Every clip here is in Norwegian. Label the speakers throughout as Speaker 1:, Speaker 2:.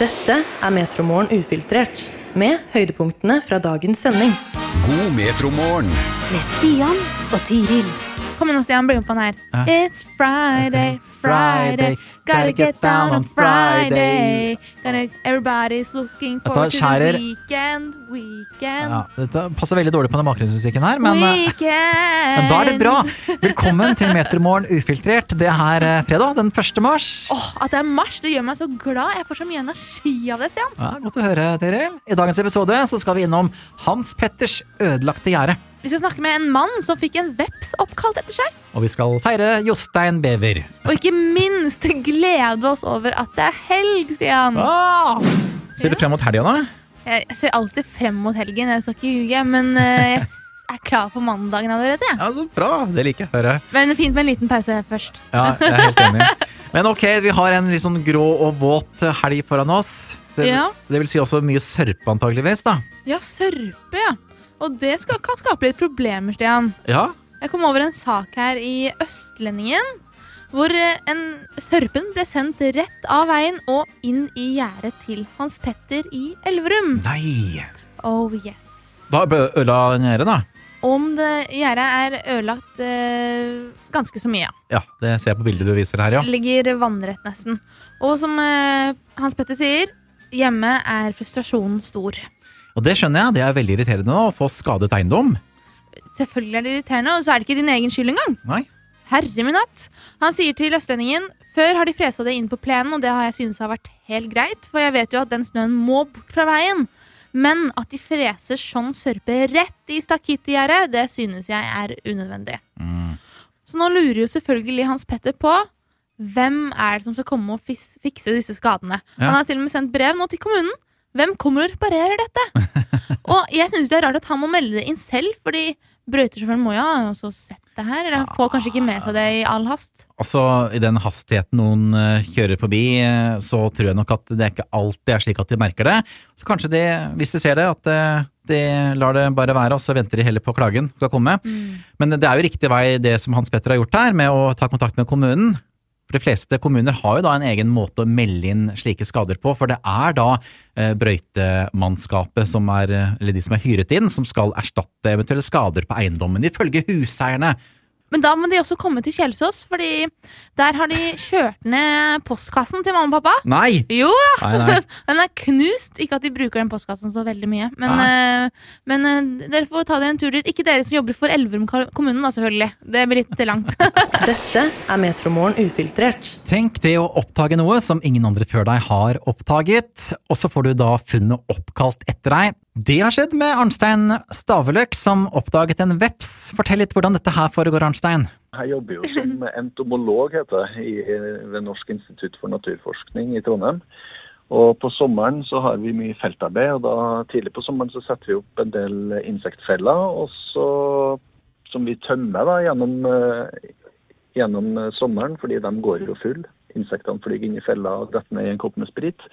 Speaker 1: Dette er Metromorgen ufiltrert, med høydepunktene fra dagens sending.
Speaker 2: God metromorgen.
Speaker 3: med Stian og Tiril.
Speaker 4: Kom igjen, Stian, bli med på den her. It's Friday, Friday. Gotta get down on Friday. Gotta, everybody's looking forward to the
Speaker 5: skjærer-
Speaker 4: weekend, weekend,
Speaker 5: Ja, dette passer veldig dårlig på den bakgrunnsmusikken her, men, eh,
Speaker 4: weekend.
Speaker 5: men da er det bra. Velkommen til Metermorgen ufiltrert. Det er eh, fredag den 1. mars.
Speaker 4: Åh, at det er mars, det gjør meg så glad. Jeg får så mye energi av det, Stian.
Speaker 5: Ja, godt å høre, Tiril. I dagens episode så skal vi innom Hans Petters ødelagte gjerde.
Speaker 4: Vi skal snakke med en mann som fikk en veps oppkalt etter seg.
Speaker 5: Og vi skal feire Jostein Bever.
Speaker 4: Og ikke minst glede oss over at det er helg, Stian.
Speaker 5: Ah! Ser du frem mot helga nå?
Speaker 4: Jeg ser alltid frem mot helgen, jeg skal ikke ljuge, men eh, jeg s- er klar for mandagen allerede. jeg.
Speaker 5: Ja, så bra. Det liker jeg å høre.
Speaker 4: Men fint med en liten pause først.
Speaker 5: Ja, jeg er helt enig. Men ok, vi har en litt sånn grå og våt helg foran oss. Det,
Speaker 4: Ja.
Speaker 5: det vil si også mye sørpe antageligvis, da.
Speaker 4: Ja, sørpe, ja. Og det skal, kan skape litt problemer, Stian.
Speaker 5: Ja.
Speaker 4: Jeg kom over en sak her i Østlendingen, hvor eh, en sørpen ble sendt rett av veien og inn i gjerdet til Hans Petter i Elverum.
Speaker 5: Nei.
Speaker 4: Oh yes.
Speaker 5: Da ble øla nede, da.
Speaker 4: Om det gjerdet er ødelagt eh, ganske så mye.
Speaker 5: Ja, det ser jeg på bildet du viser her, ja.
Speaker 4: Ligger vannrett nesten. Og som eh, Hans Petter sier, hjemme er frustrasjonen stor.
Speaker 5: Og det skjønner jeg, det er veldig irriterende nå, å få skadet eiendom.
Speaker 4: Selvfølgelig er det irriterende, og så er det ikke din egen skyld engang.
Speaker 5: Nei.
Speaker 4: Herre min hatt! Han sier til Østlendingen før har de fresa det inn på plenen, og det har jeg synes har vært helt greit, for jeg vet jo at den snøen må bort fra veien. Men at de freser sånn sørpe rett i stakittgjerdet, det synes jeg er unødvendig. Så nå lurer jo selvfølgelig Hans Petter på hvem er det som skal komme og fis- fikse disse skadene.
Speaker 5: Ja.
Speaker 4: Han har til og med sendt brev nå til kommunen. Hvem kommer og reparerer dette? og jeg synes det er rart at han må melde det inn selv, fordi brøytesjåføren må jo ha også sett det her. Eller han får kanskje ikke med seg det i all hast.
Speaker 5: Altså, i den hastigheten noen eh, kjører forbi, eh, så tror jeg nok at det ikke alltid er slik at de merker det. Så kanskje de, hvis de ser det, at eh, de lar det bare være, og så venter de heller på klagen skal komme. Men det er jo riktig vei det som Hans Petter har gjort her, med å ta kontakt med kommunen. For de fleste kommuner har jo da en egen måte å melde inn slike skader på, for det er da eh, brøytemannskapet som er, eh, eller de som er hyret inn, som skal erstatte eventuelle skader på eiendommen, ifølge huseierne.
Speaker 4: Men da må de også komme til Kjelsås, fordi der har de kjørt ned postkassen til mamma og pappa.
Speaker 5: Nei!
Speaker 4: Jo da!
Speaker 5: Nei, nei.
Speaker 4: Den er knust. Ikke at de bruker den postkassen så veldig mye. Men, eh, men eh, dere får ta dere en tur dit. Ikke dere som jobber for Elverum ka- kommune, da, selvfølgelig. Det blir litt langt.
Speaker 1: Dette er Metromorgen ufiltrert.
Speaker 5: Tenk det å oppdage noe som ingen andre før deg har oppdaget, og så får du da funnet oppkalt etter deg. Det har skjedd med Arnstein Staveløk, som oppdaget en veps. Fortell litt hvordan dette her foregår, Arnstein.
Speaker 6: Jeg jobber jo som entomolog heter det, i- ved Norsk institutt for naturforskning i Trondheim. Og På sommeren så har vi mye feltarbeid. og da Tidlig på sommeren så setter vi opp en del insektfeller og så, som vi tømmer da, gjennom, eh, gjennom eh, sommeren, fordi de går jo full. Insektene flyr inn i fella og detter ned i en kopp med sprit.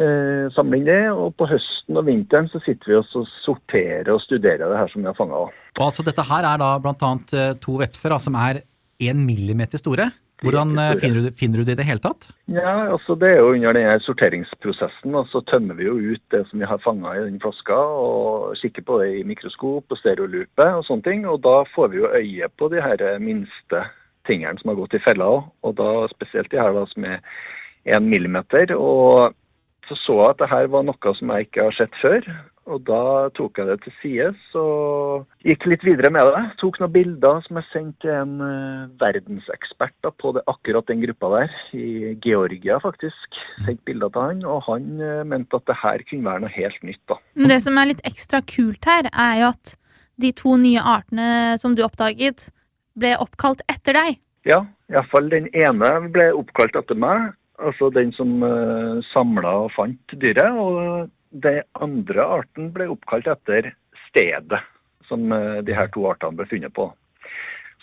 Speaker 6: Eh, Samler inn det. og På høsten og vinteren så sitter vi også og sorterer og studerer det her som vi har fanga.
Speaker 5: Og altså, dette her er da blant annet eh, to vepser da, som er én millimeter store. Hvordan eh, finner du, det- finner du det i det hele tatt?
Speaker 6: Ja, altså Det er jo under denne sorteringsprosessen. og Så tømmer vi jo ut det som vi har fanga i den flaska, og kikker på det i mikroskop og stereolupe og sånne ting. og Da får vi jo øye på de her minste tingene som har gått i fella òg. Og da spesielt de her da som er én millimeter. Og så så jeg at det her var noe som jeg ikke har sett før. Og da tok jeg det til sides og gikk litt videre med det. Tok noen bilder som jeg sendte til en eh, verdensekspert da, på det, akkurat den gruppa der, i Georgia faktisk. Sendte bilder til han, og han eh, mente at det her kunne være noe helt nytt. da.
Speaker 4: Men det som er litt ekstra kult her, er jo at de to nye artene som du oppdaget, ble oppkalt etter deg.
Speaker 6: Ja, iallfall den ene ble oppkalt etter meg. Altså den som uh, samla og fant dyret. Og den andre arten ble oppkalt etter stedet som eh, de her to artene ble funnet på.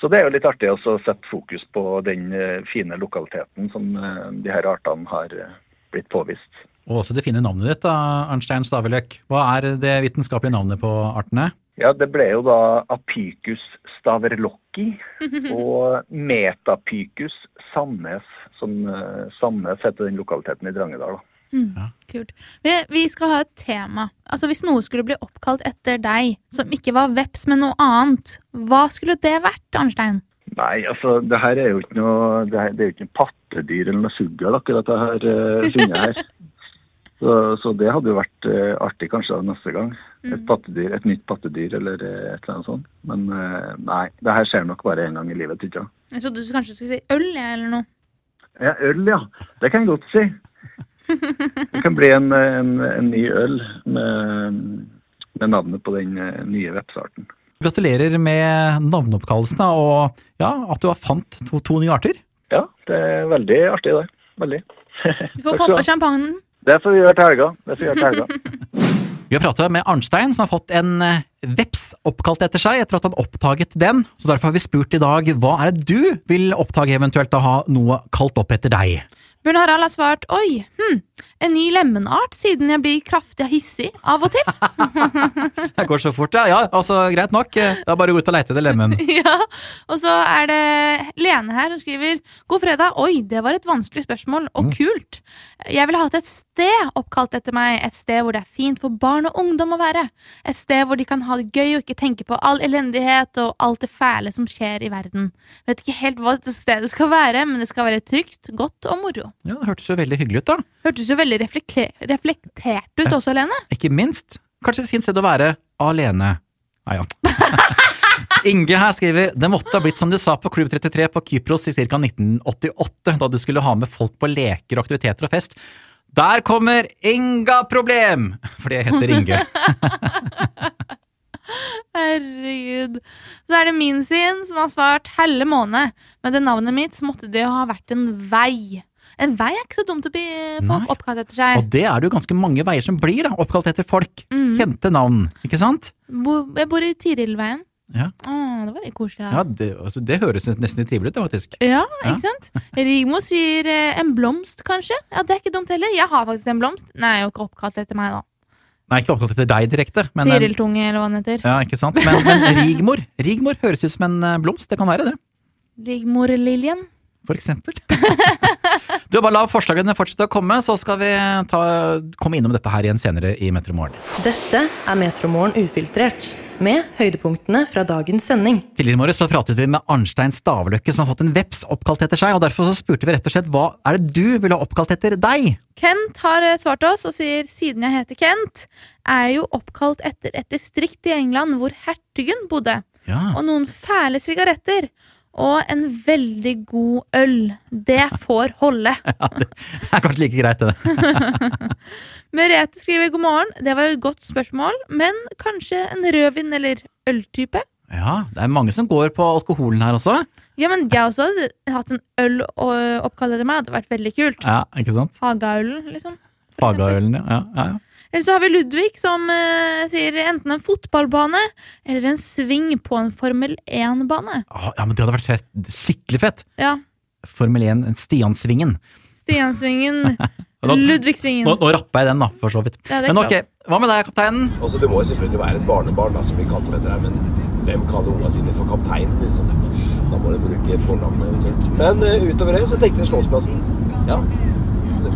Speaker 6: Så det er jo litt artig også å sette fokus på den eh, fine lokaliteten som eh, de her artene har eh, blitt påvist.
Speaker 5: Og også det fine navnet ditt, da, Arnstein Staveløk. Hva er det vitenskapelige navnet på artene?
Speaker 6: Ja, det ble jo da Apicus staverlocki og Metapicus Sandnes, som eh, Sandnes heter den lokaliteten i Drangedal. da.
Speaker 4: Kult. Vi, vi skal ha et tema. Altså Hvis noe skulle bli oppkalt etter deg, som ikke var veps, men noe annet, hva skulle det vært, Arnstein?
Speaker 6: Nei, altså, det her er jo ikke noe Det, her, det er jo ikke en pattedyr eller noe fugl akkurat jeg har eh, funnet her. Så, så det hadde jo vært eh, artig kanskje da neste gang.
Speaker 4: Mm.
Speaker 6: Et pattedyr, et nytt pattedyr eller eh, et eller annet sånt. Men eh, nei, det her skjer nok bare én gang i livet, tror jeg.
Speaker 4: Jeg trodde du kanskje skulle si øl, jeg, eller noe.
Speaker 6: Ja, øl, ja. Det kan jeg godt si. Det kan bli en, eh, en, en ny øl med, med navnet på den eh, nye vepsearten.
Speaker 5: Gratulerer med navneoppkallelsen, da, og ja, at du har fant to, to nye arter.
Speaker 6: Ja, det er veldig artig, det. Veldig.
Speaker 4: Vi får
Speaker 6: Takk skal du
Speaker 4: poppa
Speaker 6: ha.
Speaker 4: champagnen.
Speaker 6: Det får vi gjøre til helga. Det får vi gjøre til helga.
Speaker 5: Vi har prata med Arnstein, som har fått en eh, veps oppkalt etter seg etter at han oppdaget den. Så derfor har vi spurt i dag hva er det du vil oppdage eventuelt å ha noe kalt opp etter deg?
Speaker 4: Bjørn Harald har svart oi, hm, en ny lemenart siden jeg blir kraftig hissig av og til.
Speaker 5: Det går så fort, ja. ja altså, greit nok. Eh, Det er bare å gå ut og leite etter lemen.
Speaker 4: ja. Og så er det Lene her som skriver God fredag. Oi, det var et vanskelig spørsmål, og kult. Jeg ville hatt et sted oppkalt etter meg. Et sted hvor det er fint for barn og ungdom å være. Et sted hvor de kan ha det gøy og ikke tenke på all elendighet og alt det fæle som skjer i verden. Vet ikke helt hva dette stedet skal være, men det skal være trygt, godt og moro.
Speaker 5: Ja, Det hørtes jo veldig hyggelig ut, da.
Speaker 4: Hørtes jo veldig reflekle- reflektert ut også, Lene.
Speaker 5: Ikke minst, kanskje et fint sted å være alene. Nei, ja. Inge her skriver det måtte ha blitt som du sa på Klubb 33 på Kypros i ca. 1988, da du skulle ha med folk på leker og aktiviteter og fest. Der kommer Inga Problem! For det heter Inge.
Speaker 4: Herregud. Så er det min sin som har svart helle måned. Med det navnet mitt så måtte det jo ha vært en vei. En vei er ikke så dumt å bli
Speaker 5: Nei.
Speaker 4: folk oppkalt etter seg.
Speaker 5: Og det er det jo ganske mange veier som blir da, oppkalt etter folk. Kjente navn, ikke sant?
Speaker 4: Bo, jeg bor i Tirilveien.
Speaker 5: Ja.
Speaker 4: Å, det var litt koselig.
Speaker 5: Ja,
Speaker 4: Ja.
Speaker 5: Det, altså, det høres nesten litt trivelig ut, det, faktisk.
Speaker 4: Ja,
Speaker 5: Ja.
Speaker 4: ikke sant? Rigmor sier eh, en blomst, kanskje. Ja, Det er ikke dumt heller. Jeg har faktisk en blomst. Nei, jeg er jo ikke oppkalt etter meg, da.
Speaker 5: Nei, ikke oppkalt etter deg direkte. Men, eh,
Speaker 4: Tiriltunge, eller hva den heter.
Speaker 5: ja, ikke sant? Men, men Rigmor. Rigmor høres ut som en eh, blomst. Det kan være det.
Speaker 4: Rigmor-liljen.
Speaker 5: For eksempel. du, bare la forslagene fortsette å komme, så skal vi ta, komme innom dette her igjen senere i Metro Morgen.
Speaker 1: Dette er Metromorgen ufiltrert, med høydepunktene fra dagens sending.
Speaker 5: Tidligere i morges så pratet vi med Arnstein Stavløkke, som har fått en veps oppkalt etter seg. og Derfor så spurte vi rett og slett hva er det du ville ha oppkalt etter deg?
Speaker 4: Kent har eh, svart oss og sier siden jeg heter Kent, er jo oppkalt etter et distrikt i England hvor hertugen bodde.
Speaker 5: Ja.
Speaker 4: Og noen fæle sigaretter. Og en veldig god øl. Det får holde.
Speaker 5: Det er kanskje like greit, det.
Speaker 4: Merete skriver god morgen. Det var et godt spørsmål, men kanskje en rødvin eller øltype?
Speaker 5: Ja, Det er mange som går på alkoholen her også.
Speaker 4: Ja, men jeg også hadde hatt en øl å- oppkalt etter meg. Det hadde vært veldig kult.
Speaker 5: Ja, ikke sant?
Speaker 4: Hagaølen, liksom. for eksempel.
Speaker 5: Fagaølen, ja. ja, ja.
Speaker 4: Eller så har vi Ludvig som eh, sier enten en fotballbane eller en sving på en Formel 1-bane.
Speaker 5: Ah, ja, men det hadde vært fett. skikkelig fett.
Speaker 4: Ja.
Speaker 5: Formel 1, Stiansvingen.
Speaker 4: Stiansvingen,
Speaker 5: Nå, nå,
Speaker 4: Ludvigsvingen.
Speaker 5: nå rappa jeg den, da, for så vidt.
Speaker 4: Ja, det er
Speaker 5: Men ok,
Speaker 4: klart.
Speaker 5: hva med deg, kapteinen?
Speaker 7: Altså, det må jo selvfølgelig være et barnebarn da, som blir kalt etter deg, men hvem kaller unga sine for kaptein, liksom? Da må du bruke fornavnet eventuelt. Men eh, utover det så tenkte jeg Slottsplassen. Ja.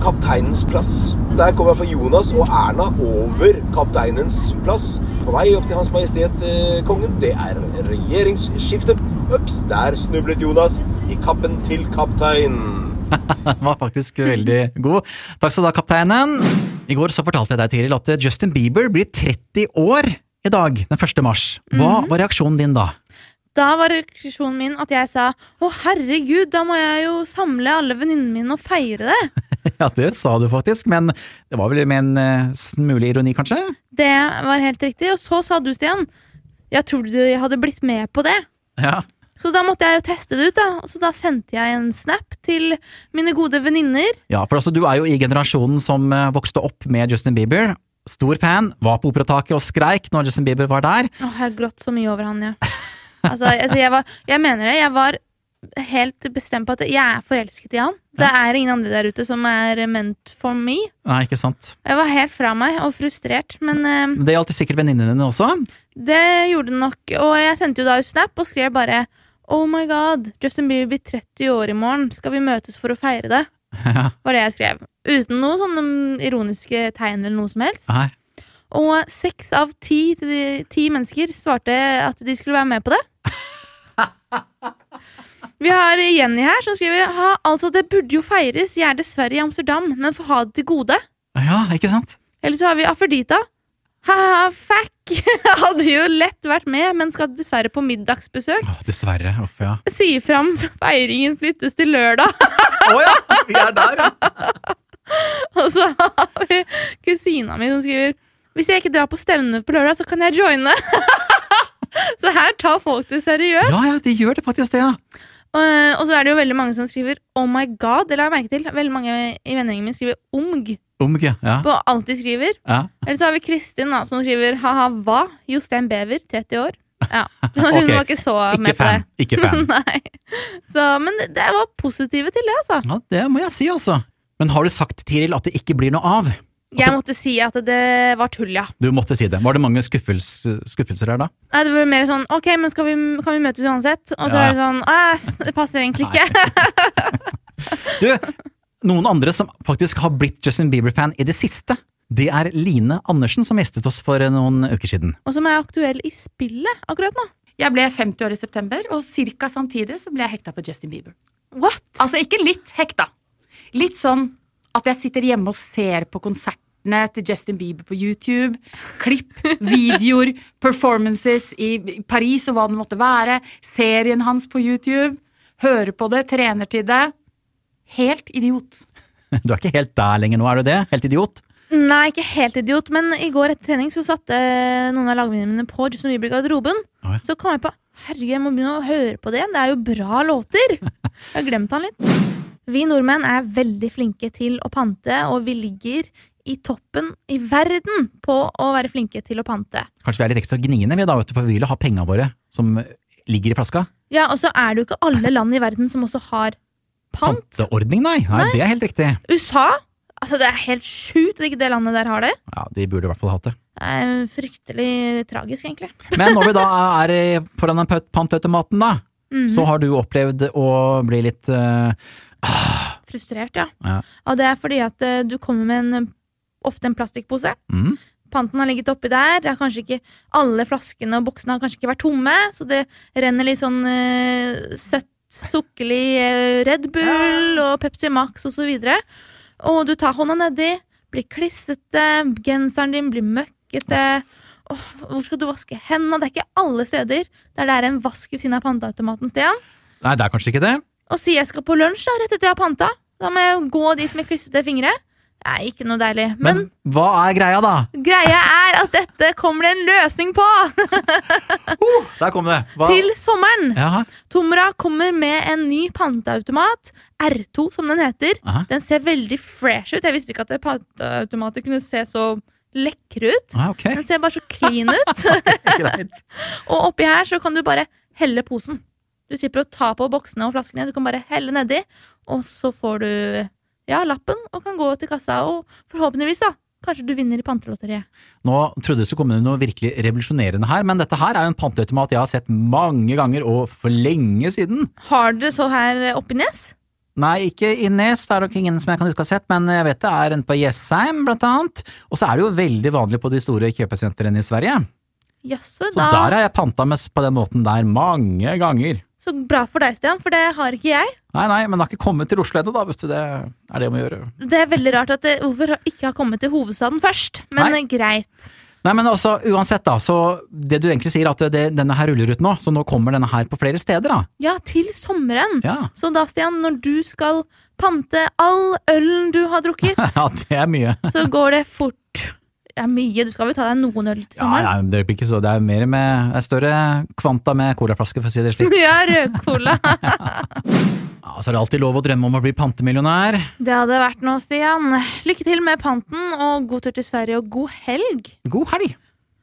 Speaker 7: Kapteinens plass. Der kom jeg fra Jonas og Erna over kapteinens plass. På vei opp til Hans Majestet eh, Kongen. Det er regjeringsskifte. Ups, der snublet Jonas i kappen til kaptein.
Speaker 5: Den var faktisk veldig god. Takk skal du ha, kapteinen. I går så fortalte jeg deg, Tiril, at Justin Bieber blir 30 år i dag, den 1. mars. Hva var reaksjonen din da?
Speaker 4: Da var reaksjonen min at jeg sa å herregud, da må jeg jo samle alle venninnene mine og feire det.
Speaker 5: Ja, det sa du faktisk, men det var vel med en eh, smule ironi, kanskje?
Speaker 4: Det var helt riktig. Og så sa du, Stian, jeg trodde jeg hadde blitt med på det.
Speaker 5: Ja.
Speaker 4: Så da måtte jeg jo teste det ut, da. Og så da sendte jeg en snap til mine gode venninner.
Speaker 5: Ja, for altså, du er jo i generasjonen som eh, vokste opp med Justin Bieber. Stor fan, var på operataket og skreik når Justin Bieber var der.
Speaker 4: Åh, jeg har grått så mye over han, ja. Altså, altså jeg, var, jeg mener det. Jeg var helt bestemt på at jeg er forelsket i han. Det er ingen andre der ute som er meant for me.
Speaker 5: Nei, ikke sant.
Speaker 4: Jeg var helt fra meg og frustrert, men eh,
Speaker 5: Det gjaldt sikkert venninnene dine også.
Speaker 4: det gjorde det nok. Og jeg sendte jo da ut snap og skrev bare Oh my god, Justin Bieber blir 30 år i morgen. Skal vi møtes for å feire det?
Speaker 5: Ja.
Speaker 4: Var det jeg skrev. Uten noe sånne mm, ironiske tegn eller noe som helst.
Speaker 5: Nei.
Speaker 4: Og seks av ti, ti mennesker svarte at de skulle være med på det. Vi har Jenny her som skriver ha, altså det burde jo feires. Jeg er dessverre i Amsterdam, men får ha det til gode.
Speaker 5: Ja, ikke sant?
Speaker 4: Eller så har vi Afrodita. Ha-ha, fuck! Hadde jo lett vært med, men skal dessverre på middagsbesøk.
Speaker 5: Åh, dessverre. Uff, ja.
Speaker 4: Sier fram feiringen flyttes til lørdag.
Speaker 5: Å ja! Vi er der, ja!
Speaker 4: Og så har vi kusina mi som skriver Hvis jeg ikke drar på stevnet på lørdag, så kan jeg joine. Så her tar folk det seriøst.
Speaker 5: Ja, ja, de gjør det faktisk, det, ja.
Speaker 4: Eh, og så er det jo veldig mange som skriver 'oh my god'. Det la jeg merke til. Veldig mange i vennegjengen min skriver 'omg'
Speaker 5: Omg, ja.
Speaker 4: på alt de skriver.
Speaker 5: ja.
Speaker 4: Eller så har vi Kristin da, som skriver 'ha-ha, hva'? Jostein Bever, 30 år. Ja, så Hun
Speaker 5: Ok.
Speaker 4: var ikke så
Speaker 5: Ikke
Speaker 4: med på
Speaker 5: fan.
Speaker 4: det.
Speaker 5: Ikke fan.
Speaker 4: Nei. Så, men det, det var positive til det, altså.
Speaker 5: Ja, det må jeg si, altså. Men har du sagt, Tiril, at det ikke blir noe av?
Speaker 4: Jeg måtte si at det var tull, ja.
Speaker 5: Du måtte si det. Var det mange skuffels, skuffelser her da?
Speaker 4: Nei, Det var mer sånn 'ok, men skal vi, kan vi møtes uansett?' Og så
Speaker 5: Ja, ja.
Speaker 4: er det sånn 'æh, det passer egentlig ikke'.
Speaker 5: Du, noen andre som faktisk har blitt Justin Bieber-fan i det siste, det er Line Andersen som gjestet oss for noen uker siden.
Speaker 4: Og som er aktuell i spillet akkurat nå.
Speaker 8: Jeg ble 50 år i september, og ca. samtidig så ble jeg hekta på Justin Bieber.
Speaker 4: What?
Speaker 8: Altså ikke litt hekta. Litt sånn at jeg sitter hjemme og ser på konsertene til Justin Bieber på YouTube. Klipp, videoer, performances i Paris og hva det måtte være. Serien hans på YouTube. Hører på det, trener til det. Helt idiot.
Speaker 5: Du er ikke helt der lenger nå, er du det? Helt idiot?
Speaker 4: Ah, Nei, ikke helt idiot, men i går etter trening så satte eh, noen av lagvenninnene mine på Justin Bieber i garderoben.
Speaker 5: Oi.
Speaker 4: Så kom jeg på herregud, jeg må begynne å høre på det igjen. Det er jo bra låter. Jeg har glemt han litt. Vi nordmenn er veldig flinke til å pante, og vi ligger i toppen i verden på å være flinke til å pante.
Speaker 5: Kanskje vi er litt ekstra gniende, vi da, vet du, for vi vil jo ha pengene våre som ligger i flaska.
Speaker 4: Ja, Og så er det jo ikke alle land i verden som også har pant.
Speaker 5: Panteordning, nei. nei. Det er helt riktig.
Speaker 4: USA? Altså, det er helt sjukt at ikke det landet der har det.
Speaker 5: Ja, De burde i hvert fall hatt det.
Speaker 4: Det er fryktelig tragisk, egentlig.
Speaker 5: Men når vi da er eh, foran den pant- pantautomaten, da,
Speaker 4: Mhm.
Speaker 5: så har du opplevd å bli litt eh,
Speaker 4: Frustrert, ja.
Speaker 5: Ja.
Speaker 4: Og det er fordi at eh, du kommer med en, ofte en plastikkpose.
Speaker 5: mm,
Speaker 4: Panten har ligget oppi der. Det er kanskje ikke Alle flaskene og boksene har kanskje ikke vært tomme, så det renner litt sånn eh, søtt, sukkerlig eh, Red Bull og Pepsi Max osv. Og, så videre. og du tar hånda nedi, blir klissete, genseren din blir møkkete. Åh, hvor skal du vaske hendene? Det er ikke alle steder der det er en vask ved siden av panteautomaten. Stian.
Speaker 5: Nei, det er kanskje ikke det.
Speaker 4: Og si jeg skal på lunsj da, rett etter jeg har panta. Da må jeg gå dit med klissete fingre. Det er ikke noe deilig. Men,
Speaker 5: Men hva er greia, da?
Speaker 4: greia er at dette kommer det en løsning på
Speaker 5: Der kom det. Hva?
Speaker 4: til sommeren.
Speaker 5: Jaha.
Speaker 4: Tomra kommer med en ny panteautomat. R2, som den heter.
Speaker 5: Aha.
Speaker 4: Den ser veldig fresh ut. Jeg visste ikke at panteautomater kunne se så lekre ut.
Speaker 5: Ah, ok,
Speaker 4: Den ser bare så clean ut.
Speaker 5: greit.
Speaker 4: Og oppi her så kan du bare helle posen. Du slipper å ta på boksene og flaskene. Du kan bare helle nedi, og så får du ja, lappen og kan gå til kassa. Og forhåpentligvis, da, kanskje du vinner i pantelotteriet.
Speaker 5: Nå trodde jeg det kom noe virkelig revolusjonerende her, men dette her er jo en panteautomat jeg har sett mange ganger, og for lenge siden.
Speaker 4: Har dere så her oppi nes?
Speaker 5: Nei, ikke i Nes, det er nok ingen som jeg kan huske å ha sett, men jeg vet det er en på Jessheim, blant annet. Og så er det jo veldig vanlig på de store kjøpesentrene i Sverige.
Speaker 4: Jaså,
Speaker 5: Så der
Speaker 4: da.
Speaker 5: har jeg panta med, på den måten der mange ganger.
Speaker 4: Så bra for deg, Stian, for det har ikke jeg.
Speaker 5: Nei, nei, men det har ikke kommet til Oslo ennå, da, vet du. Det er det jeg må gjøre.
Speaker 4: Det er veldig rart at det, hvorfor ikke har kommet til hovedstaden først. Men
Speaker 5: Nei.
Speaker 4: eh, greit.
Speaker 5: Nei, men altså, uansett da, så det du egentlig sier er at det, denne her ruller ut nå, så nå kommer denne her på flere steder da.
Speaker 4: Ja, til sommeren.
Speaker 5: Ja,
Speaker 4: Så da, Stian, når du skal pante all ølen du har drukket,
Speaker 5: ja det er mye.
Speaker 4: så går det fort. Det er mye. Du skal vel ta deg noen øl til
Speaker 5: Ja,
Speaker 4: sommeren?
Speaker 5: nei, det blir ikke så, det er mer med, det er større kvanta med colaflaske, for å si det slik.
Speaker 4: Ja, rødcola.
Speaker 5: Ja, så er det alltid lov å drømme om å bli pantemillionær.
Speaker 4: Det hadde vært noe, Stian. Lykke til med panten, og god tur til Sverige, og god helg.
Speaker 5: God helg!